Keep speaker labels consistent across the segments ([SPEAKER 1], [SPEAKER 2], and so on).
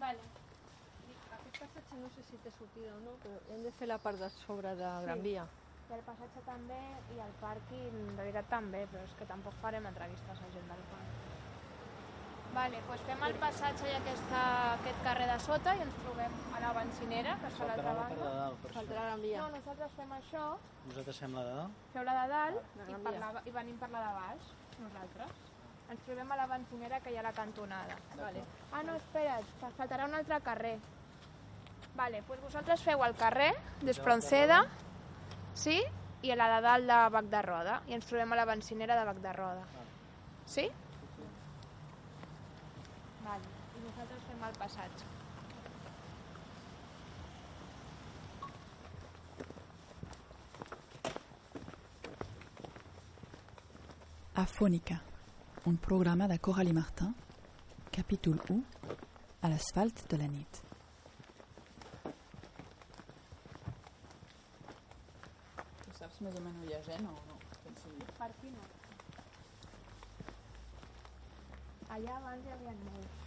[SPEAKER 1] Vale.
[SPEAKER 2] Aquest passatge no sé si té sortida o no, però hem de fer la part de sobre de Gran
[SPEAKER 1] Sí.
[SPEAKER 2] Via.
[SPEAKER 1] I el passatge també, i el pàrquing, en realitat també, però és que tampoc farem entrevistes a gent del pàrquing. Vale, doncs fem el passatge i aquesta, aquest carrer de sota i ens trobem a la bencinera, que és a l'altra
[SPEAKER 3] Faltarà la part de
[SPEAKER 1] banda.
[SPEAKER 3] dalt, per
[SPEAKER 2] Faltarà
[SPEAKER 3] això.
[SPEAKER 2] Gran Via.
[SPEAKER 1] No, nosaltres fem això,
[SPEAKER 3] Vosaltres fem la de dalt?
[SPEAKER 1] feu la de dalt
[SPEAKER 2] La
[SPEAKER 1] i,
[SPEAKER 2] Gran
[SPEAKER 1] per
[SPEAKER 2] Via.
[SPEAKER 1] la, i venim per la de baix, nosaltres. Ens trobem a la bencinera que hi ha a la cantonada. Vale. Ah, no, espera't, que faltarà un altre carrer. Vale, doncs vosaltres feu el carrer d'Espronceda, sí, i la de dalt de Bac de Roda, i ens trobem a la bencinera de Bac de Roda. Sí? Vale, i nosaltres fem el passatge.
[SPEAKER 4] Afònica, un programa de Coralie Martin, capítol 1, a l'asfalt de la nit.
[SPEAKER 5] Tu saps més o menys on hi ha gent o no? Penso jo.
[SPEAKER 1] Per aquí no. Allà abans hi havia molts.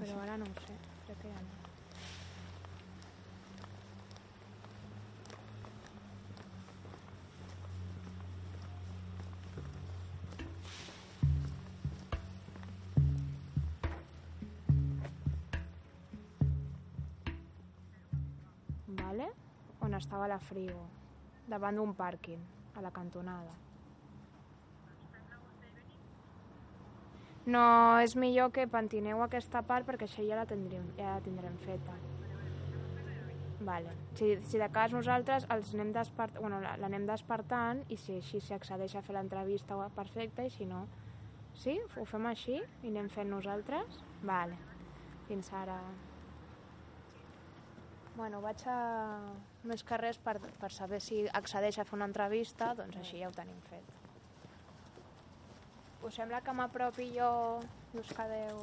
[SPEAKER 1] Però ara no ho sé, crec que ja no. Vale? On estava la Frigo, davant d'un pàrquing, a la cantonada. No, és millor que pentineu aquesta part perquè això ja la tindrem, ja la tindrem feta. Vale. Si, si de cas nosaltres els anem despert... bueno, la- l'anem despertant i si així s'accedeix a fer l'entrevista perfecta i si no... Sí? Ho fem així i anem fent nosaltres? Vale. Fins ara. Bueno, vaig a més carrers per, per saber si accedeix a fer una entrevista, doncs així ja ho tenim fet. Us sembla que m'apropi jo i us quedeu...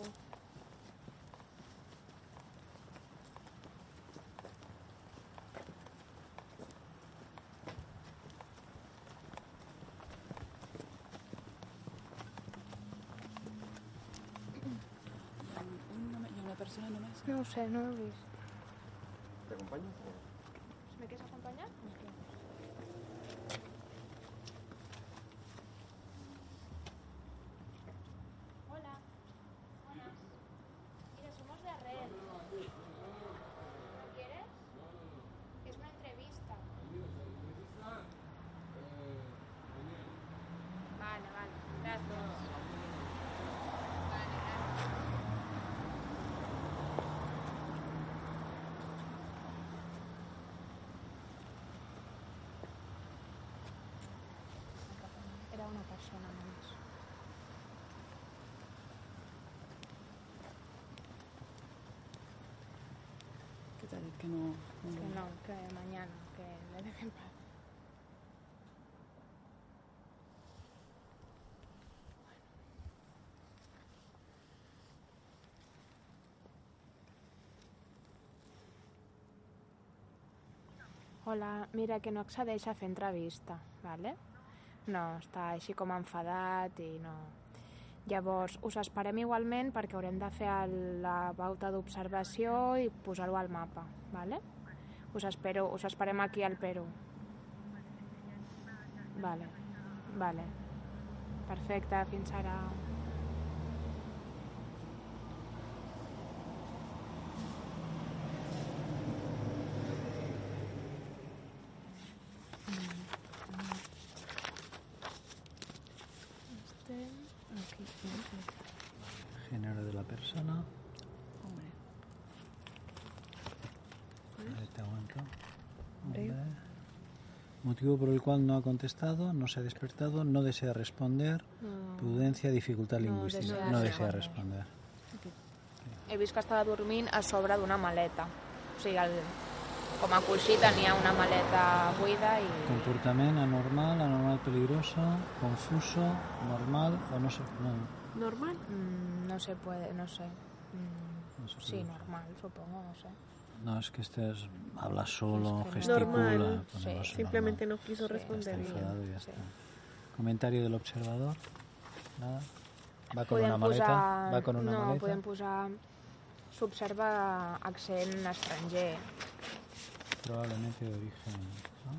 [SPEAKER 5] Hi ha, un, un, nome- hi ha una persona només?
[SPEAKER 1] No ho sé, no ho he vist.
[SPEAKER 6] ¿Te acompaño?
[SPEAKER 1] ¿Me quieres acompanyar? Hola. Buenas. Mira, somos de Arrel. ¿No quieres? Es una entrevista. Vale, vale. Gracias. Era una persona només.
[SPEAKER 5] Que t'ha dit que no... no
[SPEAKER 1] Que no, que mañana, que me dejen paz. Hola, mira que no accedeix a fer entrevista, ¿vale? No, està així com enfadat i no... Llavors, us esperem igualment perquè haurem de fer el, la bauta d'observació i posar-ho al mapa, ¿vale? Us espero, us esperem aquí al Perú. Vale, vale. Perfecte, fins ara. Estem aquí.
[SPEAKER 3] Género de la persona.
[SPEAKER 5] Hombre.
[SPEAKER 3] Ahí te aguanto. Hombre. Motivo por el cual no ha contestado, no se ha despertado, no desea responder. Prudencia, dificultad lingüística.
[SPEAKER 1] desea
[SPEAKER 3] no desea
[SPEAKER 1] responder.
[SPEAKER 3] responder.
[SPEAKER 1] He vist que estava dormint a sobre d'una maleta. O sigui, el, com a coixí tenia una maleta buida i...
[SPEAKER 3] Comportament anormal, anormal peligroso, confuso, normal o no sé. No,
[SPEAKER 2] Normal?
[SPEAKER 1] Mm, no se puede, no sé. Mm,
[SPEAKER 3] no sé
[SPEAKER 1] sí, normal, supongo, no sé.
[SPEAKER 3] No, es que este es, habla solo,
[SPEAKER 1] Es que no.
[SPEAKER 3] gesticula.
[SPEAKER 2] Normal,
[SPEAKER 3] pues
[SPEAKER 1] sí.
[SPEAKER 3] no, es
[SPEAKER 2] Simplemente no quiso
[SPEAKER 1] Sí,
[SPEAKER 3] normal. Está
[SPEAKER 2] responder bien.
[SPEAKER 3] enfadado y ya
[SPEAKER 1] Sí.
[SPEAKER 3] está. Comentario del observador. Nada. Va con
[SPEAKER 1] Podem
[SPEAKER 3] una maleta.
[SPEAKER 1] posar-
[SPEAKER 3] Va con una
[SPEAKER 1] no,
[SPEAKER 3] maleta.
[SPEAKER 1] podem posar s'observa accent estranger.
[SPEAKER 3] Probablemente de origen ¿no?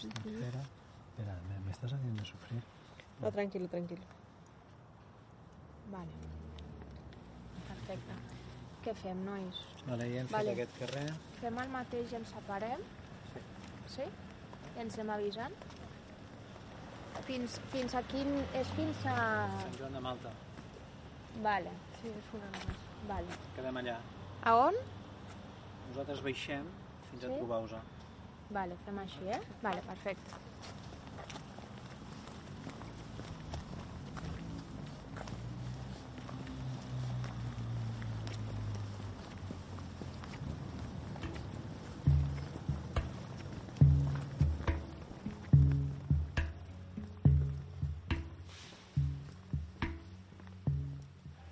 [SPEAKER 3] extranjera. Espera, me, me estás haciendo sufrir.
[SPEAKER 2] No, tranquilo, tranquilo.
[SPEAKER 1] Vale. Perfecte. Què fem, nois?
[SPEAKER 3] Vale, ja hem
[SPEAKER 1] Vale.
[SPEAKER 3] fet aquest carrer.
[SPEAKER 1] Fem el mateix i ens separem? Sí. I ens anem avisant? Fins, fins a quin... És fins a...
[SPEAKER 3] Sant Joan de Malta.
[SPEAKER 1] Vale,
[SPEAKER 2] Sí, és una més.
[SPEAKER 1] vale.
[SPEAKER 3] Quedem allà.
[SPEAKER 1] A on?
[SPEAKER 3] Nosaltres baixem fins a
[SPEAKER 1] Sí?
[SPEAKER 3] trobar-vos.
[SPEAKER 1] Vale, fem així, eh? Vale, perfecte.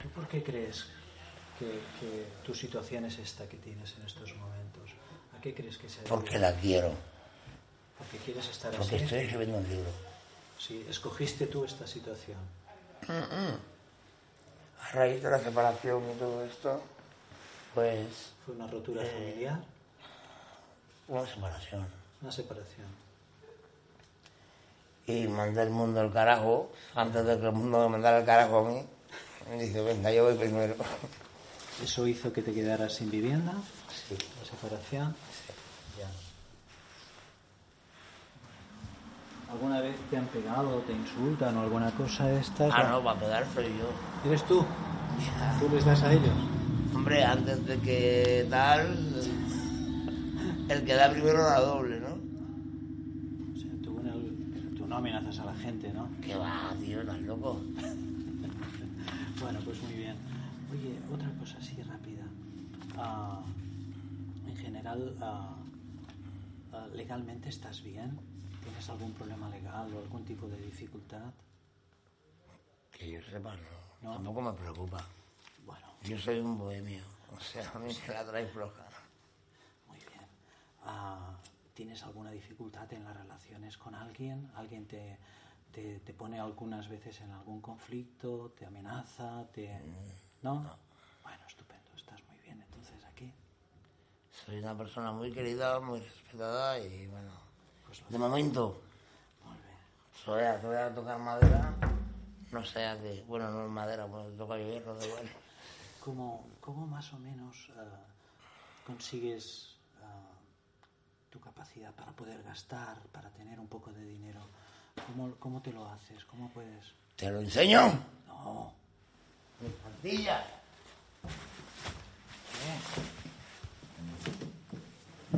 [SPEAKER 3] ¿Tú por qué crees que, que tu situación es esta que tienes en estos momentos? ¿A qué crees que se debe?
[SPEAKER 7] Porque la quiero,
[SPEAKER 3] Porque quieres estar
[SPEAKER 7] porque
[SPEAKER 3] así.
[SPEAKER 7] estoy escribiendo un libro.
[SPEAKER 3] Sí, escogiste tú esta situación.
[SPEAKER 7] A raíz de la separación y todo esto, pues
[SPEAKER 3] Fue una
[SPEAKER 7] Eh,
[SPEAKER 3] rotura familiar,
[SPEAKER 7] una separación.
[SPEAKER 3] una separación.
[SPEAKER 7] Y mandé el mundo al carajo, antes de que el mundo me mandara al carajo a mí. Me dice, venga, yo voy primero.
[SPEAKER 3] Eso hizo que te quedaras sin vivienda,
[SPEAKER 7] Sí.
[SPEAKER 3] la separación. Ya. ¿Alguna vez te han pegado, te insultan o alguna cosa de estas?
[SPEAKER 7] Ah, no, para pegar soy yo.
[SPEAKER 3] ¿Eres tú? ¿Tú les das a ellos?
[SPEAKER 7] Hombre, antes de que tal, el que da primero da doble, ¿no?
[SPEAKER 3] O sea, tú, una- tú no amenazas a la gente, ¿no?
[SPEAKER 7] Que va, tío, estás loco.
[SPEAKER 3] Bueno, pues muy bien. Oye, otra cosa así rápida. Ah, en general, ah, ah, ¿legalmente estás bien? ¿Tienes algún problema legal o algún tipo de dificultad?
[SPEAKER 7] Que yo sepa, no.
[SPEAKER 3] No.
[SPEAKER 7] Tampoco me preocupa.
[SPEAKER 3] Bueno,
[SPEAKER 7] Yo soy un bohemio. O sea, a mí se la trae floja.
[SPEAKER 3] muy bien. Ah, ¿Tienes alguna dificultad en las relaciones con alguien? ¿Alguien te, te, te pone algunas veces en algún conflicto? ¿Te amenaza? Te... ¿No? Bueno, estupendo. Estás muy bien entonces aquí.
[SPEAKER 7] Soy una persona muy querida, muy respetada y bueno.
[SPEAKER 3] Pues lo-
[SPEAKER 7] De momento,
[SPEAKER 3] Muy bien.
[SPEAKER 7] soy a, voy a tocar madera. No sé a qué. Bueno, no es madera, pues toca hierro, da igual.
[SPEAKER 3] ¿Cómo, cómo más o menos eh, consigues eh, tu capacidad para poder gastar, para tener un poco de dinero? ¿Cómo, cómo te lo haces? ¿Cómo puedes...?
[SPEAKER 7] ¿Te lo enseño?
[SPEAKER 3] No.
[SPEAKER 7] Mis plantillas.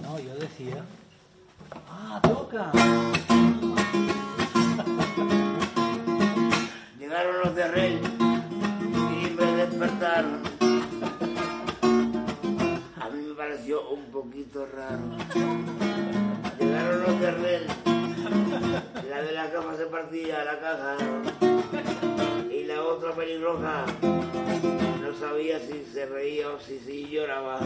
[SPEAKER 3] No, yo decía... ¡Ah, toca!
[SPEAKER 7] Llegaron los de rey y me despertaron. A mí me pareció un poquito raro. Llegaron los de rey. La de la cama se partía, la caja. Y la otra pelirroja no sabía si se reía o si, si lloraba.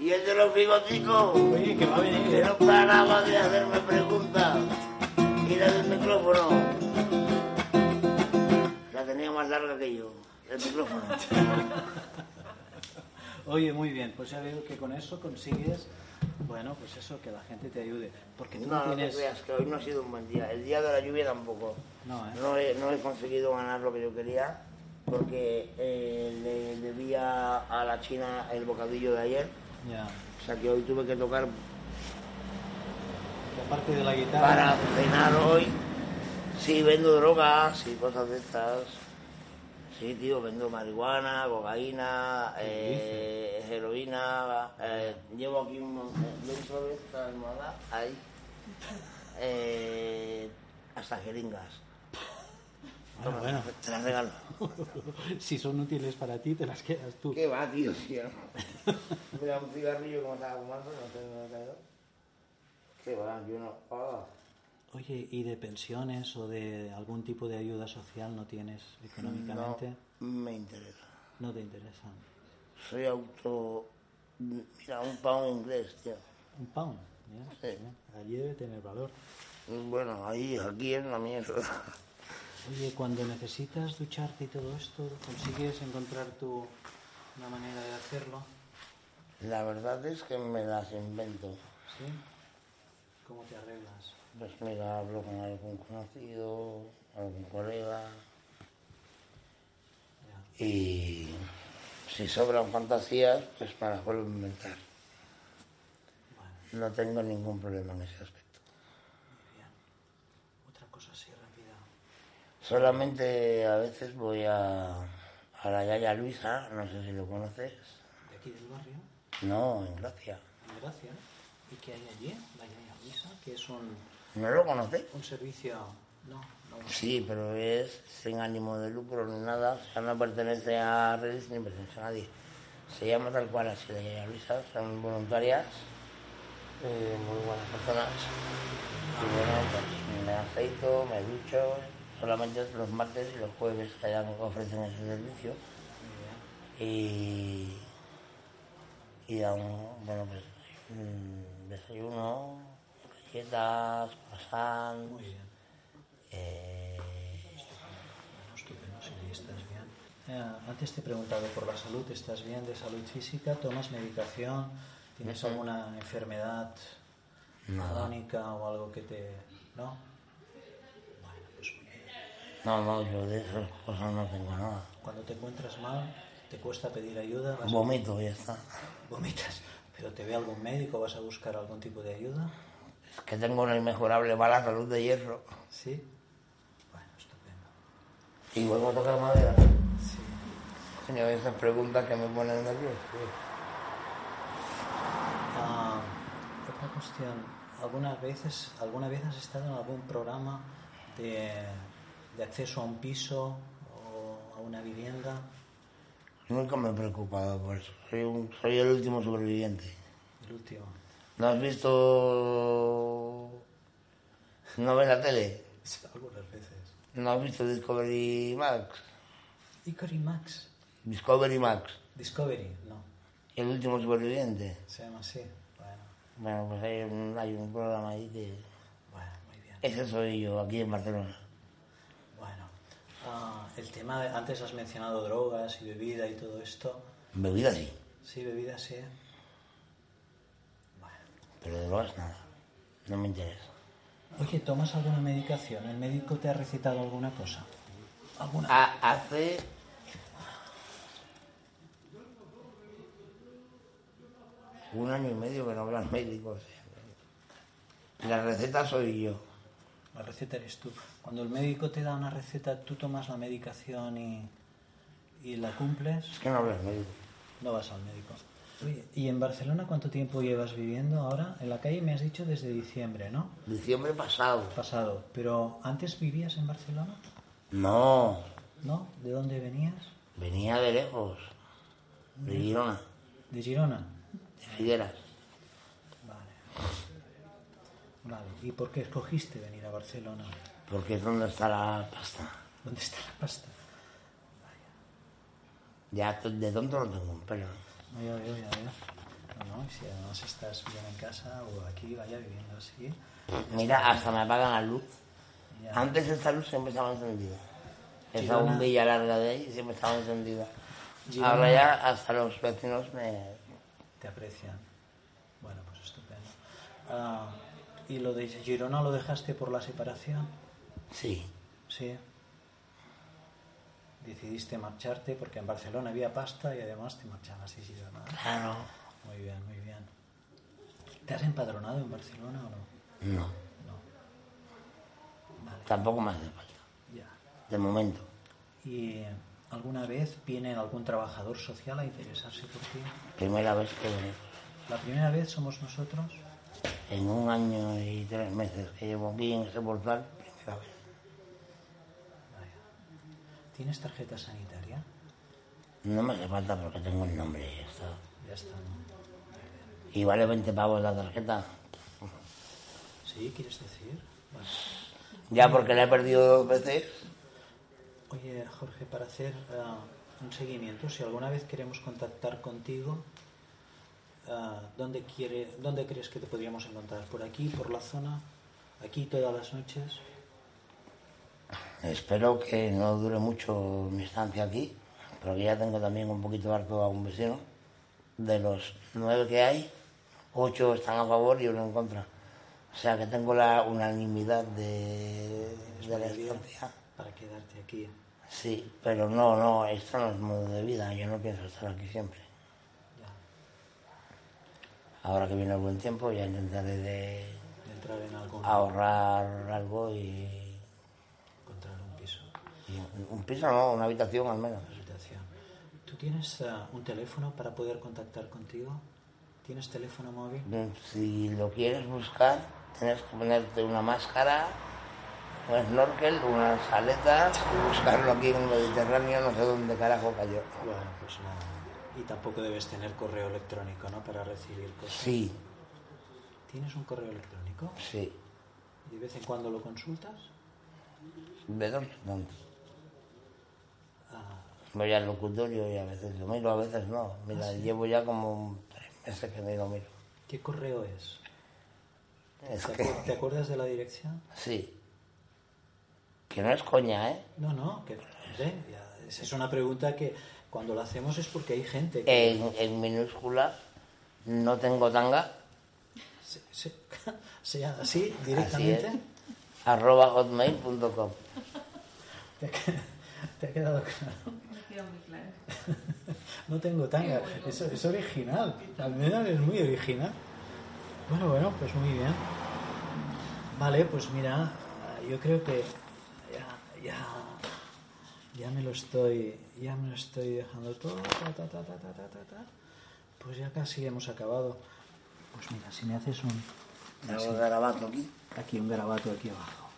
[SPEAKER 7] Y el de los bigoticos
[SPEAKER 3] Oye, que va a venir... ¿eh?
[SPEAKER 7] que no paraba de hacerme preguntas y la del micrófono la tenía más larga que yo el micrófono
[SPEAKER 3] Oye, muy bien, pues ya veo que con eso consigues... Bueno, pues eso, que la gente te ayude. Porque tú no,
[SPEAKER 7] no, no te
[SPEAKER 3] tienes...
[SPEAKER 7] creas que hoy no ha sido un buen día el día de la lluvia tampoco
[SPEAKER 3] No, ¿eh?
[SPEAKER 7] no he, no he conseguido ganar lo que yo quería porque eh, le debía a la china el bocadillo de ayer
[SPEAKER 3] Ya.
[SPEAKER 7] o sea que hoy tuve que tocar
[SPEAKER 3] Que aparte de la guitarra...
[SPEAKER 7] para cenar hoy sí vendo drogas y cosas de estas. Sí, tío, vendo marihuana, cocaína, eh, heroína. eh,
[SPEAKER 3] Ah.
[SPEAKER 7] llevo aquí un mon- eh, dentro de esta almohada, ahí, eh, hasta jeringas.
[SPEAKER 3] Bueno, Ah, bueno,
[SPEAKER 7] Te las regalo.
[SPEAKER 3] si son útiles para ti, te las quedas tú.
[SPEAKER 7] ¿Qué va, tío? tío? Me da un cigarrillo como estaba fumando, no tengo no tengo. ¿Qué va? Yo no. ah.
[SPEAKER 3] Oye, ¿y de pensiones o de algún tipo de ayuda social no tienes económicamente?
[SPEAKER 7] No me interesa.
[SPEAKER 3] No, te interesa.
[SPEAKER 7] Soy auto. Mira, un pound inglés, tío.
[SPEAKER 3] Un pound, ¿ya?
[SPEAKER 7] Sí.
[SPEAKER 3] Ya, Allí debe tener valor.
[SPEAKER 7] Bueno, ahí, aquí en la mierda.
[SPEAKER 3] Oye, cuando necesitas ducharte y todo esto, consigues encontrar tu, una manera de hacerlo?
[SPEAKER 7] La verdad es que me las invento.
[SPEAKER 3] ¿Sí? ¿Cómo te arreglas?
[SPEAKER 7] Pues mira, hablo con algún conocido, algún colega. Y si sobran fantasías, pues me las vuelvo a inventar. No tengo ningún problema en ese aspecto.
[SPEAKER 3] Otra cosa así rápida.
[SPEAKER 7] Solamente a veces voy a, a la Yaya Luisa, no sé si lo conoces.
[SPEAKER 3] ¿De aquí del barrio?
[SPEAKER 7] No, en Gracia.
[SPEAKER 3] En Gracia. ¿Y qué hay allí? La Yaya Luisa, que es un,
[SPEAKER 7] ¿No lo conoces?
[SPEAKER 3] un servicio... No, no lo sé.
[SPEAKER 7] Sí, pero es sin ánimo de lucro ni nada, o sea, no pertenece a redes ni pertenece a nadie. Se llama tal cual así de Yaya Luisa, son voluntarias, eh, muy buenas personas. Y bueno, pues me aceito, me ducho, solamente los martes y los jueves que allá ofrecen ese servicio. Y, y aún, bueno, pues mm, desayuno, galletas, croissant,
[SPEAKER 3] Muy bien.
[SPEAKER 7] eh,
[SPEAKER 3] Bueno, estupendo, Siri, estás bien. Eh, antes te he preguntado por la salud. ¿Estás bien de salud física? ¿Tomas medicación? ¿Tienes alguna enfermedad crónica o algo que te... ¿No? Bueno, pues muy bien.
[SPEAKER 7] No, no, yo de esas cosas no tengo nada.
[SPEAKER 3] Cuando te encuentras mal, te cuesta pedir ayuda, vas-
[SPEAKER 7] Vomito, ya está.
[SPEAKER 3] vomitas. ¿Pero te ve algún médico? ¿Vas a buscar algún tipo de ayuda?
[SPEAKER 7] Es que tengo una inmejorable mala salud de hierro.
[SPEAKER 3] ¿Sí? Bueno, estupendo.
[SPEAKER 7] Y vuelvo a tocar madera.
[SPEAKER 3] Sí.
[SPEAKER 7] Coño, esas preguntas que me ponen nervioso.
[SPEAKER 3] Ah, otra cuestión. ¿Algunas veces, ¿Alguna vez has estado en algún programa de, de acceso a un piso o a una vivienda?
[SPEAKER 7] Nunca me he preocupado por eso. Soy, un- soy el último superviviente.
[SPEAKER 3] El último.
[SPEAKER 7] ¿No has visto... ¿No ves la tele?
[SPEAKER 3] Algunas veces.
[SPEAKER 7] ¿No has visto Discovery Max?
[SPEAKER 3] Hickory Max.
[SPEAKER 7] Discovery Max.
[SPEAKER 3] Discovery, no.
[SPEAKER 7] El último superviviente.
[SPEAKER 3] Se llama así. Bueno,
[SPEAKER 7] Bueno, pues hay un, hay un programa ahí que...
[SPEAKER 3] bueno, muy bien.
[SPEAKER 7] Ese soy yo, aquí en Barcelona.
[SPEAKER 3] Bueno, ah, el tema, de- antes has mencionado drogas y bebida y todo esto.
[SPEAKER 7] Bebida sí,
[SPEAKER 3] Sí, bebida sí. Bueno.
[SPEAKER 7] pero de drogas nada. No me interesa.
[SPEAKER 3] Oye, ¿tomas alguna medicación? ¿El médico te ha recetado alguna cosa? ¿Alguna?
[SPEAKER 7] A- hace. Un año y medio que no hablan médicos. La receta soy yo.
[SPEAKER 3] La receta eres tú. Cuando el médico te da una receta, tú tomas la medicación y, y la cumples,
[SPEAKER 7] Es que no hablan médicos.
[SPEAKER 3] no vas al médico. Oye, ¿y en Barcelona cuánto tiempo llevas viviendo ahora? En la calle me has dicho desde diciembre, ¿no?
[SPEAKER 7] Diciembre pasado.
[SPEAKER 3] Pasado. Pero antes vivías en Barcelona,
[SPEAKER 7] No,
[SPEAKER 3] ¿no? ¿De dónde venías?
[SPEAKER 7] venía de lejos. De Girona,
[SPEAKER 3] De Girona.
[SPEAKER 7] de Figueras.
[SPEAKER 3] Vale. Vale. ¿Y por qué escogiste venir a Barcelona?
[SPEAKER 7] Porque es donde está la pasta.
[SPEAKER 3] ¿Dónde está la pasta?
[SPEAKER 7] Ya t- de tonto no tengo un pelo.
[SPEAKER 3] No, ya veo, ya veo. No, no, si además estás bien en casa o aquí, vaya viviendo así.
[SPEAKER 7] Mira, hasta me apagan la luz.
[SPEAKER 3] Ya.
[SPEAKER 7] Antes esta luz siempre estaba encendida. Esa
[SPEAKER 3] Chirona.
[SPEAKER 7] bombilla larga de ahí siempre estaba encendida.
[SPEAKER 3] Chirona.
[SPEAKER 7] Ahora ya hasta los vecinos me...
[SPEAKER 3] Te aprecian. Bueno, pues estupendo. Ah, ¿Y lo de Girona lo dejaste por la separación?
[SPEAKER 7] Sí,
[SPEAKER 3] Sí. Decidiste marcharte porque en Barcelona había pasta y además te marchabas de Girona.
[SPEAKER 7] claro.
[SPEAKER 3] Muy bien, muy bien. ¿Te has empadronado en Barcelona o no?
[SPEAKER 7] No,
[SPEAKER 3] No. Vale,
[SPEAKER 7] tampoco me hace falta.
[SPEAKER 3] ya.
[SPEAKER 7] De momento.
[SPEAKER 3] ¿Y alguna vez viene algún trabajador social a interesarse por ti?
[SPEAKER 7] Primera vez que vengo.
[SPEAKER 3] La primera vez somos nosotros.
[SPEAKER 7] En un año y tres meses que llevo aquí en este portal, primera vez.
[SPEAKER 3] Vaya. ¿Tienes tarjeta sanitaria?
[SPEAKER 7] No me hace falta porque tengo el nombre y ya está.
[SPEAKER 3] Ya está. ¿no?
[SPEAKER 7] Y vale 20 pavos la tarjeta.
[SPEAKER 3] ¿Sí? ¿Quieres decir? Vale.
[SPEAKER 7] Ya porque la he perdido dos veces.
[SPEAKER 3] Oye, Jorge, para hacer ah, un seguimiento, si alguna vez queremos contactar contigo, ah, ¿dónde, quiere, ¿dónde crees que te podríamos encontrar? ¿Por aquí, por la zona? ¿Aquí todas las noches?
[SPEAKER 7] Espero que no dure mucho mi estancia aquí. Pero aquí ya tengo también un poquito harto a un vecino. De los nueve que hay, ocho están a favor y uno en contra. O sea que tengo la unanimidad de, de la estancia.
[SPEAKER 3] para quedarte aquí.
[SPEAKER 7] Sí, pero no, no, esto no es modo de vida. Yo no pienso estar aquí siempre. Ahora que viene el buen tiempo, ya intentaré de
[SPEAKER 3] de entrar en algo,
[SPEAKER 7] ahorrar algo y,
[SPEAKER 3] encontrar un piso,
[SPEAKER 7] y un piso, no, una habitación al menos.
[SPEAKER 3] una habitación. ¿Tú tienes eh, un teléfono para poder contactar contigo? ¿Tienes teléfono móvil?
[SPEAKER 7] Mm, Si lo quieres buscar, tienes que ponerte una máscara, un snorkel, unas aletas y buscarlo aquí en el Mediterráneo, no sé dónde carajo cayó.
[SPEAKER 3] Bueno, pues nada. Y tampoco debes tener correo electrónico, ¿no? Para recibir cosas.
[SPEAKER 7] Sí,
[SPEAKER 3] ¿Tienes un correo electrónico?
[SPEAKER 7] sí,
[SPEAKER 3] ¿Y de vez en cuando lo consultas?
[SPEAKER 7] de dónde dónde. Voy al locutorio y a veces lo miro, a veces no. Mira, llevo ya como tres meses que no lo miro.
[SPEAKER 3] ¿Qué correo es?
[SPEAKER 7] Es
[SPEAKER 3] ¿Te,
[SPEAKER 7] que,
[SPEAKER 3] acuer- te acuerdas de la dirección?
[SPEAKER 7] sí. Que no es coña, ¿eh?
[SPEAKER 3] No, no, que hombre, ya, esa es una pregunta que cuando la hacemos es porque hay gente que...
[SPEAKER 7] En, en minúscula, no tengo tanga,
[SPEAKER 3] Se, se- se llama así,
[SPEAKER 7] así es,
[SPEAKER 3] directamente.
[SPEAKER 7] arroba hotmail.com.
[SPEAKER 3] ¿Te, ha, qued- te ha quedado claro?
[SPEAKER 5] Me queda muy claro.
[SPEAKER 3] No tengo tanga. Es, es original. Almena es muy original. Bueno, bueno, pues muy bien. Vale, pues mira, yo creo que ya, ya, ya me lo estoy, ya me lo estoy dejando todo. ta, ta, ta, ta, ta, ta, ta, ta. Pues ya casi hemos acabado. Pues mira, si me haces un,
[SPEAKER 7] Algo de garabato aquí
[SPEAKER 3] aquí un garabato aquí abajo.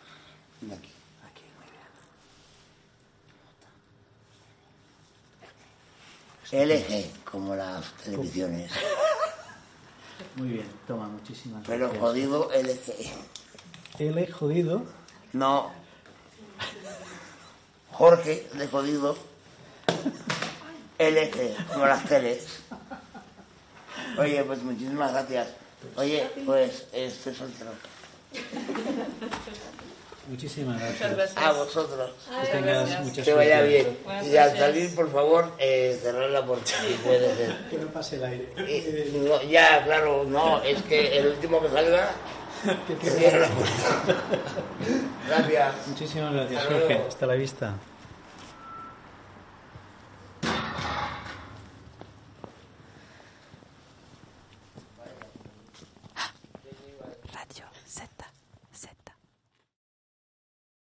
[SPEAKER 7] y aquí.
[SPEAKER 3] Aquí, muy bien.
[SPEAKER 7] Pues LG, como las televisiones.
[SPEAKER 3] Muy bien, toma, muchísimas
[SPEAKER 7] Pero
[SPEAKER 3] gracias.
[SPEAKER 7] jodido LG.
[SPEAKER 3] L jodido.
[SPEAKER 7] No. Jorge de jodido. LG, como las teles. Oye, pues muchísimas gracias. Oye, pues estoy soltero.
[SPEAKER 3] Muchísimas gracias.
[SPEAKER 7] A vosotros.
[SPEAKER 3] Que tengas mucha
[SPEAKER 7] Que vaya
[SPEAKER 3] suerte.
[SPEAKER 7] bien. Y al salir, por favor, eh, cerrar la puerta, si puede ser.
[SPEAKER 3] Que no pase el aire.
[SPEAKER 7] Eh, no, ya, claro, no, es que el último que salga, que cierra la puerta. Gracias.
[SPEAKER 3] Muchísimas gracias,
[SPEAKER 7] Hasta
[SPEAKER 3] Jorge.
[SPEAKER 7] luego.
[SPEAKER 3] Hasta la vista.